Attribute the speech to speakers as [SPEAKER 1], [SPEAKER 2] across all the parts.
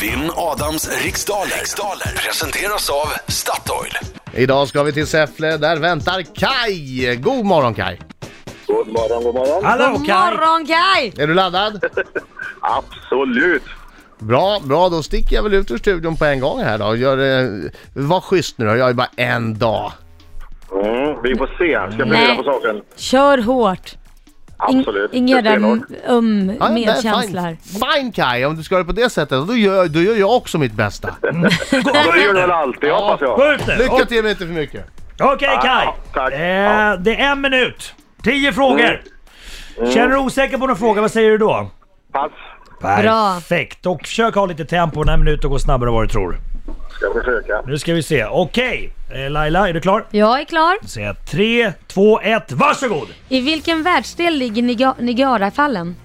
[SPEAKER 1] Vinn Adams riksdaler. riksdaler presenteras av Statoil.
[SPEAKER 2] Idag ska vi till Säffle, där väntar Kai. God morgon Kai!
[SPEAKER 3] God morgon, god morgon.
[SPEAKER 4] Hallå
[SPEAKER 5] God
[SPEAKER 4] Kaj!
[SPEAKER 5] morgon Kaj!
[SPEAKER 2] Är du laddad?
[SPEAKER 3] Absolut.
[SPEAKER 2] Bra, bra då sticker jag väl ut ur studion på en gång här då. Gör, eh, var schysst nu då, jag har ju bara en dag.
[SPEAKER 3] Mm, vi får se. Ska fundera
[SPEAKER 5] Nej.
[SPEAKER 3] på saken.
[SPEAKER 5] Kör hårt! In-
[SPEAKER 3] Absolut.
[SPEAKER 5] Ingen
[SPEAKER 3] Det är
[SPEAKER 5] rädd
[SPEAKER 3] stenhårt.
[SPEAKER 5] um,
[SPEAKER 2] Ja, nej,
[SPEAKER 5] medkänsla här.
[SPEAKER 2] Fine, fine Kai, om du ska göra det på det sättet, då gör, då gör jag också mitt bästa.
[SPEAKER 3] Ja, det gör du väl alltid,
[SPEAKER 2] Ja.
[SPEAKER 3] hoppas jag.
[SPEAKER 4] Skjut nu!
[SPEAKER 2] Lycka till men inte för mycket.
[SPEAKER 4] O- Okej Kaj!
[SPEAKER 3] Ja, tack.
[SPEAKER 4] Eh, det är en minut. Tio
[SPEAKER 2] Mm.
[SPEAKER 4] frågor. Känner du osäker på någon fråga, vad säger du då?
[SPEAKER 3] Pass.
[SPEAKER 4] Perfekt! Och försök ha lite tempo, den här minuten går snabbare än vad du tror.
[SPEAKER 3] Ska försöka.
[SPEAKER 4] Nu ska vi se. Okej! Eh, Laila, är du klar?
[SPEAKER 5] Jag är klar.
[SPEAKER 4] Säg 3, 2, 1, varsågod!
[SPEAKER 5] I vilken världsdel ligger Niga- Nigarafallen?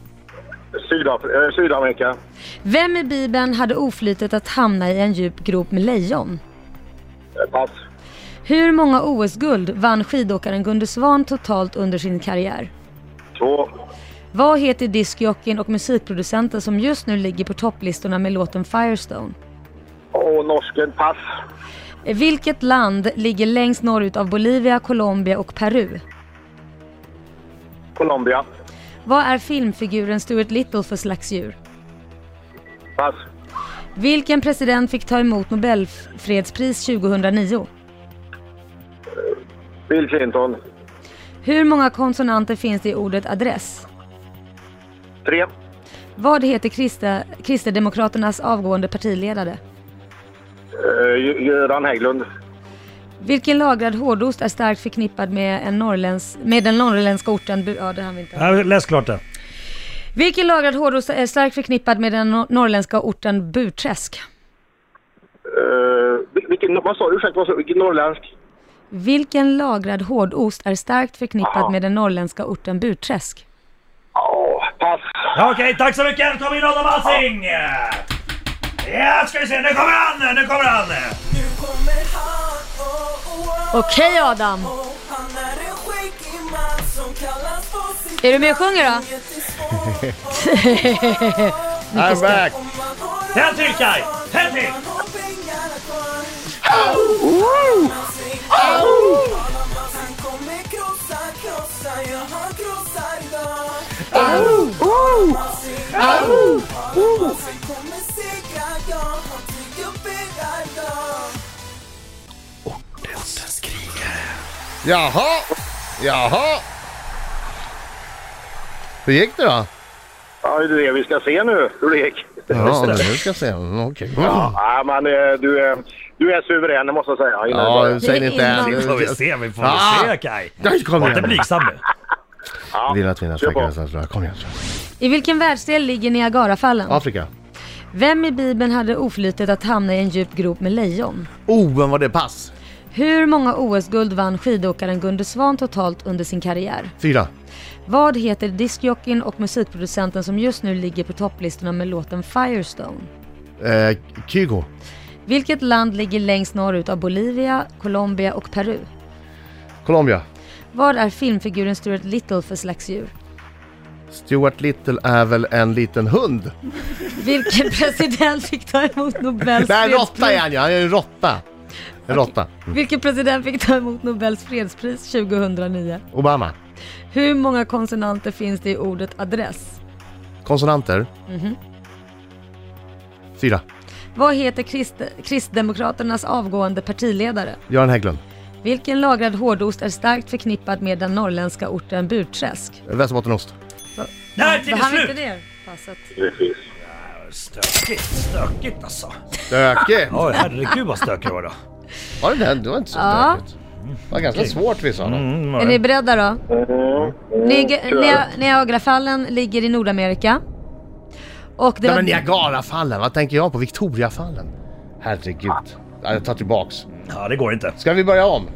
[SPEAKER 3] Sydaf eh, Sydamerika.
[SPEAKER 5] Vem i Bibeln hade oflytet att hamna i en djup grop med lejon?
[SPEAKER 3] Eh, Pass.
[SPEAKER 5] Hur många OS-guld vann skidåkaren Gunde Svan totalt under sin karriär?
[SPEAKER 3] Två.
[SPEAKER 5] Vad heter diskjockeyn och musikproducenten som just nu ligger på topplistorna med låten Firestone?
[SPEAKER 3] Och norsken. Pass.
[SPEAKER 5] Vilket land ligger längst norrut av Bolivia, Colombia och Peru?
[SPEAKER 3] Colombia.
[SPEAKER 5] Vad är filmfiguren Stuart Little för slags djur?
[SPEAKER 3] Pass.
[SPEAKER 5] Vilken president fick ta emot Nobelfredspris 2009?
[SPEAKER 3] Bill Clinton.
[SPEAKER 5] Hur många konsonanter finns det i ordet adress?
[SPEAKER 3] Tre.
[SPEAKER 5] Vad heter Krista, Kristdemokraternas avgående partiledare?
[SPEAKER 3] Eh, Gö- Göran Hägglund.
[SPEAKER 5] Vilken lagrad hårdost är starkt förknippad med, en norrländs, med den norrländska orten... Bu- Ja, det hann vi inte.
[SPEAKER 4] Ja, Läs klart det.
[SPEAKER 5] Vilken lagrad hårdost är starkt förknippad med den nor- norrländska orten Burträsk?
[SPEAKER 3] Eh, vil- vilken, vad sa du? Ursäkta, vad sa du? Vilken norrländsk?
[SPEAKER 5] Vilken lagrad hårdost är starkt förknippad
[SPEAKER 3] Aha.
[SPEAKER 5] med den norrländska orten Burträsk?
[SPEAKER 3] Ja, pass.
[SPEAKER 4] Ja, Okej, tack så mycket! Då tar vi in Adam Alsing! Ja, ska vi se. Nu kommer han! Nu kommer han!
[SPEAKER 6] Nu kommer han, oh, oh, oh,
[SPEAKER 5] Okej Adam!
[SPEAKER 6] oh. Han är en skäggig man som kallas på sitt
[SPEAKER 5] Är du med och sjunger då?
[SPEAKER 6] Inget är
[SPEAKER 2] I'm
[SPEAKER 6] svårt,
[SPEAKER 2] back!
[SPEAKER 6] om man har
[SPEAKER 4] En till, Kaj! En till!
[SPEAKER 6] om man har pengarna kvar. Talar man, han kommer krossa, krossa, ja han krossar idag. Man ser- Talar man, han kommer segra, ja han tycker upp era idag.
[SPEAKER 2] Jaha, jaha. Hur gick det då?
[SPEAKER 3] Ja, det är det vi ska se nu, hur det gick.
[SPEAKER 2] Ja, nu ska jag se. Mm, Okej.
[SPEAKER 3] Ja, men eh, du, är, du är suverän, det måste jag säga. innan jag börjar.
[SPEAKER 2] Ja, säg det inte än.
[SPEAKER 4] Vi får vi se, vi får
[SPEAKER 2] Ah.
[SPEAKER 4] väl se Kaj.
[SPEAKER 2] Nej, kom
[SPEAKER 4] Var inte
[SPEAKER 2] igen.
[SPEAKER 4] blygsam nu.
[SPEAKER 2] Vill att vinna
[SPEAKER 3] Kör på.
[SPEAKER 2] säkra snart. Kom igen.
[SPEAKER 5] I vilken världsdel ligger Niagarafallen?
[SPEAKER 2] Afrika.
[SPEAKER 5] Vem i Bibeln hade oflytet att hamna i en djup grop med lejon?
[SPEAKER 2] Oh, vem var det? Pass.
[SPEAKER 5] Hur många OS-guld vann skidåkaren Gunde Svan totalt under sin karriär?
[SPEAKER 2] Fyra.
[SPEAKER 5] Vad heter diskjockeyn och musikproducenten som just nu ligger på topplistorna med låten Firestone?
[SPEAKER 2] Eh, Kygo.
[SPEAKER 5] Vilket land ligger längst norrut av Bolivia, Colombia och Peru?
[SPEAKER 2] Colombia.
[SPEAKER 5] Vad är filmfiguren Stuart Little för slags djur?
[SPEAKER 2] Stuart Little är väl en liten hund?
[SPEAKER 5] Vilken president fick ta emot Nobels
[SPEAKER 2] Nej, en råtta är
[SPEAKER 5] fredspris?
[SPEAKER 2] han ja. Han är en råtta. En råtta. Mm.
[SPEAKER 5] Vilken president fick ta emot Nobels fredspris 2009?
[SPEAKER 2] Obama.
[SPEAKER 5] Hur många konsonanter finns det i ordet adress?
[SPEAKER 2] Konsonanter. Fyra.
[SPEAKER 5] Vad heter krist Kristdemokraternas avgående partiledare?
[SPEAKER 2] Göran Hägglund.
[SPEAKER 5] Vilken lagrad hårdost är starkt förknippad med den norrländska orten Burträsk?
[SPEAKER 2] Västerbottenost.
[SPEAKER 4] Där till
[SPEAKER 5] Då hann vi inte
[SPEAKER 4] slut!
[SPEAKER 5] det passet.
[SPEAKER 3] Precis.
[SPEAKER 4] Stökigt, stökigt alltså.
[SPEAKER 2] Stökigt!
[SPEAKER 4] Oj, herregud vad stökigt det var då.
[SPEAKER 2] Var det den? Det var inte så
[SPEAKER 5] Ja.
[SPEAKER 2] stökigt. Det var ganska svårt vissa av dem.
[SPEAKER 5] Är ni beredda då?
[SPEAKER 3] Mm.
[SPEAKER 5] Niag- Nia- Niagarafallen ligger i Nordamerika. Och det
[SPEAKER 2] Nej
[SPEAKER 5] var...
[SPEAKER 2] men Niagarafallen, vad tänker jag på? Victoriafallen? Herregud. Ja, Jag tar tillbaks.
[SPEAKER 4] Ja, det går inte.
[SPEAKER 2] Ska vi börja om?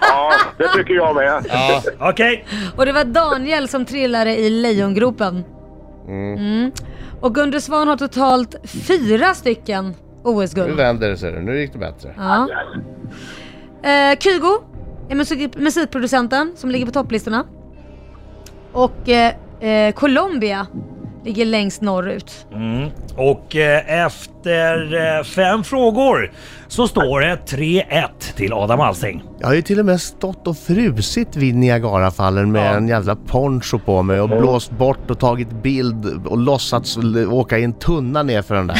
[SPEAKER 3] Ja, det tycker jag med.
[SPEAKER 2] Ja.
[SPEAKER 4] Okej,
[SPEAKER 5] Och det var Daniel som trillade i lejongropen. Mm. Och Gunde Svan har totalt fyra stycken
[SPEAKER 2] Nu
[SPEAKER 5] OS-guld.
[SPEAKER 2] vänder det sig. Nu gick det bättre.
[SPEAKER 5] Ja. Eh, Kygo är musik- musikproducenten som ligger på topplistorna. Och eh, eh, Colombia Ligger längst norrut.
[SPEAKER 4] Och eh, efter eh, fem frågor så står det 3-1 till Adam Alsing.
[SPEAKER 2] Jag har ju till och med stått och frusit vid Niagarafallen med en jävla poncho på mig och blåst bort och tagit bild och låtsats l- åka i en tunna ner för den där.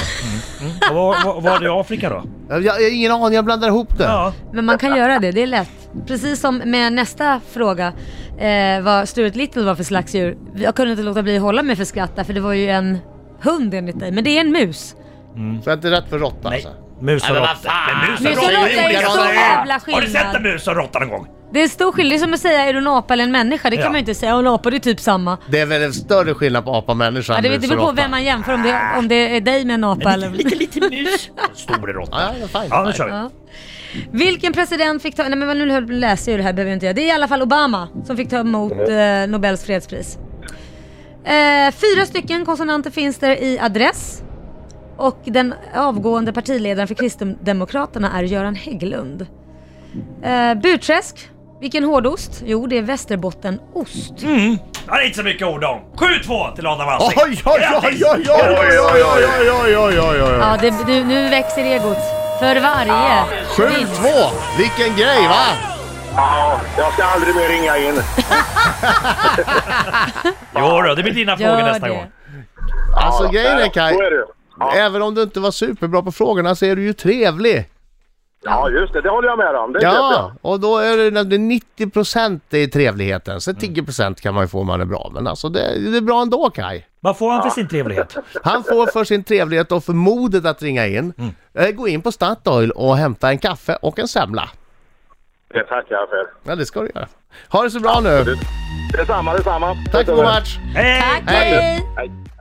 [SPEAKER 4] Och Var, var, var det i Afrika då?
[SPEAKER 2] Jag, jag, jag har ingen aning, jag blandar ihop det.
[SPEAKER 4] Ja.
[SPEAKER 5] Men man kan göra det, det är lätt. Precis som med nästa fråga, eh, vad Stuart Little var för slags djur. Jag kunde inte låta bli att hålla mig för skratt där, för det var ju en hund enligt dig, men det är en mus.
[SPEAKER 2] Så jag är inte rätt för råtta
[SPEAKER 4] Nej.
[SPEAKER 2] alltså.
[SPEAKER 4] Mus och
[SPEAKER 2] men vad
[SPEAKER 4] råtta.
[SPEAKER 2] fan!
[SPEAKER 4] Men
[SPEAKER 5] Mus och råtta är så
[SPEAKER 4] likadana.
[SPEAKER 5] jävla
[SPEAKER 4] Har du sett
[SPEAKER 5] skillnad.
[SPEAKER 4] en mus och råtta någon gång?
[SPEAKER 5] Det är en stor skillnad, det är som att säga är du en apa eller en människa? Det kan
[SPEAKER 4] Ja.
[SPEAKER 5] man ju inte säga, och en apa det är typ samma.
[SPEAKER 2] Det är väl en större skillnad på apa och människa
[SPEAKER 5] Ja,
[SPEAKER 2] än
[SPEAKER 5] det
[SPEAKER 2] mus
[SPEAKER 5] beror
[SPEAKER 2] och
[SPEAKER 5] på
[SPEAKER 2] råtta.
[SPEAKER 5] vem man jämför, om det, om det är dig med en apa eller...
[SPEAKER 4] liten mus. Stor råtta.
[SPEAKER 2] Ja, ja, fine,
[SPEAKER 4] Ja, nu
[SPEAKER 2] fine.
[SPEAKER 4] kör vi.
[SPEAKER 5] Mm. Vilken president fick ta... Nej men nu höll- läser jag det här, behöver jag inte göra. Det är i alla fall Obama som fick ta emot
[SPEAKER 4] Mm.
[SPEAKER 5] eh, Nobels fredspris. Eh, fyra stycken konsonanter finns där i adress. Och den avgående partiledaren för Kristdemokraterna är Göran Hägglund. Eh, Burträsk. Vilken hårdost? Jo, det är västerbottenost.
[SPEAKER 4] Mm. Ja, det är inte så mycket ord om. 7-2 till Adam Alsing.
[SPEAKER 2] Oj, oj, oj, oj, oj, oj, oj, oj, oj, oj, oj, oj, oj, oj.
[SPEAKER 5] Ja, det, du, nu växer egot. För varje.
[SPEAKER 2] 7-2! Vilken grej va?
[SPEAKER 3] Ja, jag ska aldrig mer ringa in.
[SPEAKER 4] Jo, då, det blir dina frågor
[SPEAKER 5] Gör
[SPEAKER 4] nästa
[SPEAKER 5] det.
[SPEAKER 4] gång.
[SPEAKER 2] Alltså grejen är Kaj,
[SPEAKER 3] Så är det. Ja.
[SPEAKER 2] även om du inte var superbra på frågorna så är du ju trevlig.
[SPEAKER 3] ja, just det. Det håller jag med om. Det vet jag.
[SPEAKER 2] Ja, och då är det när det är 90% i trevligheten. Sen 10% kan man ju få om man är bra. Men alltså det, det är bra ändå Kaj.
[SPEAKER 4] Vad får han för sin trevlighet?
[SPEAKER 2] Han får för sin trevlighet och för modet att ringa in, eh, gå in på Statoil och hämta en kaffe och en semla.
[SPEAKER 3] Det tackar jag för.
[SPEAKER 2] Ja, det ska du göra. Ha det så bra nu.
[SPEAKER 3] Detsamma, detsamma.
[SPEAKER 2] Tack för god match.
[SPEAKER 4] Hej!
[SPEAKER 5] Tack, hej!
[SPEAKER 3] Hej.